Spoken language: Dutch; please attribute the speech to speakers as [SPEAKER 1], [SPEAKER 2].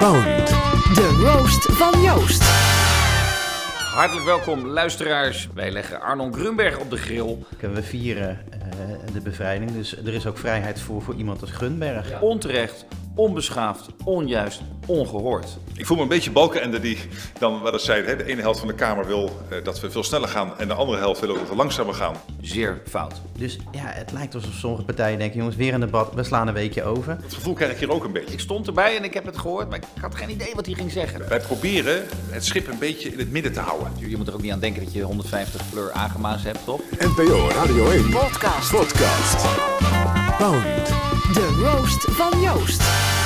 [SPEAKER 1] Boond. De roast van Joost.
[SPEAKER 2] Hartelijk welkom, luisteraars. Wij leggen Arnon Grunberg op de grill.
[SPEAKER 3] We vieren eh, de bevrijding, dus er is ook vrijheid voor, voor iemand als Gunberg.
[SPEAKER 2] Onterecht, onbeschaafd, onjuist, ongehoord.
[SPEAKER 4] Ik voel me een beetje balkenende die dan wel eens zei... Hè, de ene helft van de Kamer wil eh, dat we veel sneller gaan... en de andere helft wil ook dat we langzamer gaan.
[SPEAKER 2] Zeer fout.
[SPEAKER 3] Dus ja, het lijkt alsof sommige partijen denken, jongens, weer een debat, we slaan een weekje over.
[SPEAKER 4] Dat gevoel krijg ik hier ook een beetje.
[SPEAKER 2] Ik stond erbij en ik heb het gehoord, maar ik had geen idee wat hij ging zeggen.
[SPEAKER 4] Wij proberen het schip een beetje in het midden te houden.
[SPEAKER 2] Je moet er ook niet aan denken dat je 150 fleur aangemazen hebt, toch?
[SPEAKER 5] NPO Radio 1
[SPEAKER 1] Podcast.
[SPEAKER 5] podcast.
[SPEAKER 1] De roast van Joost.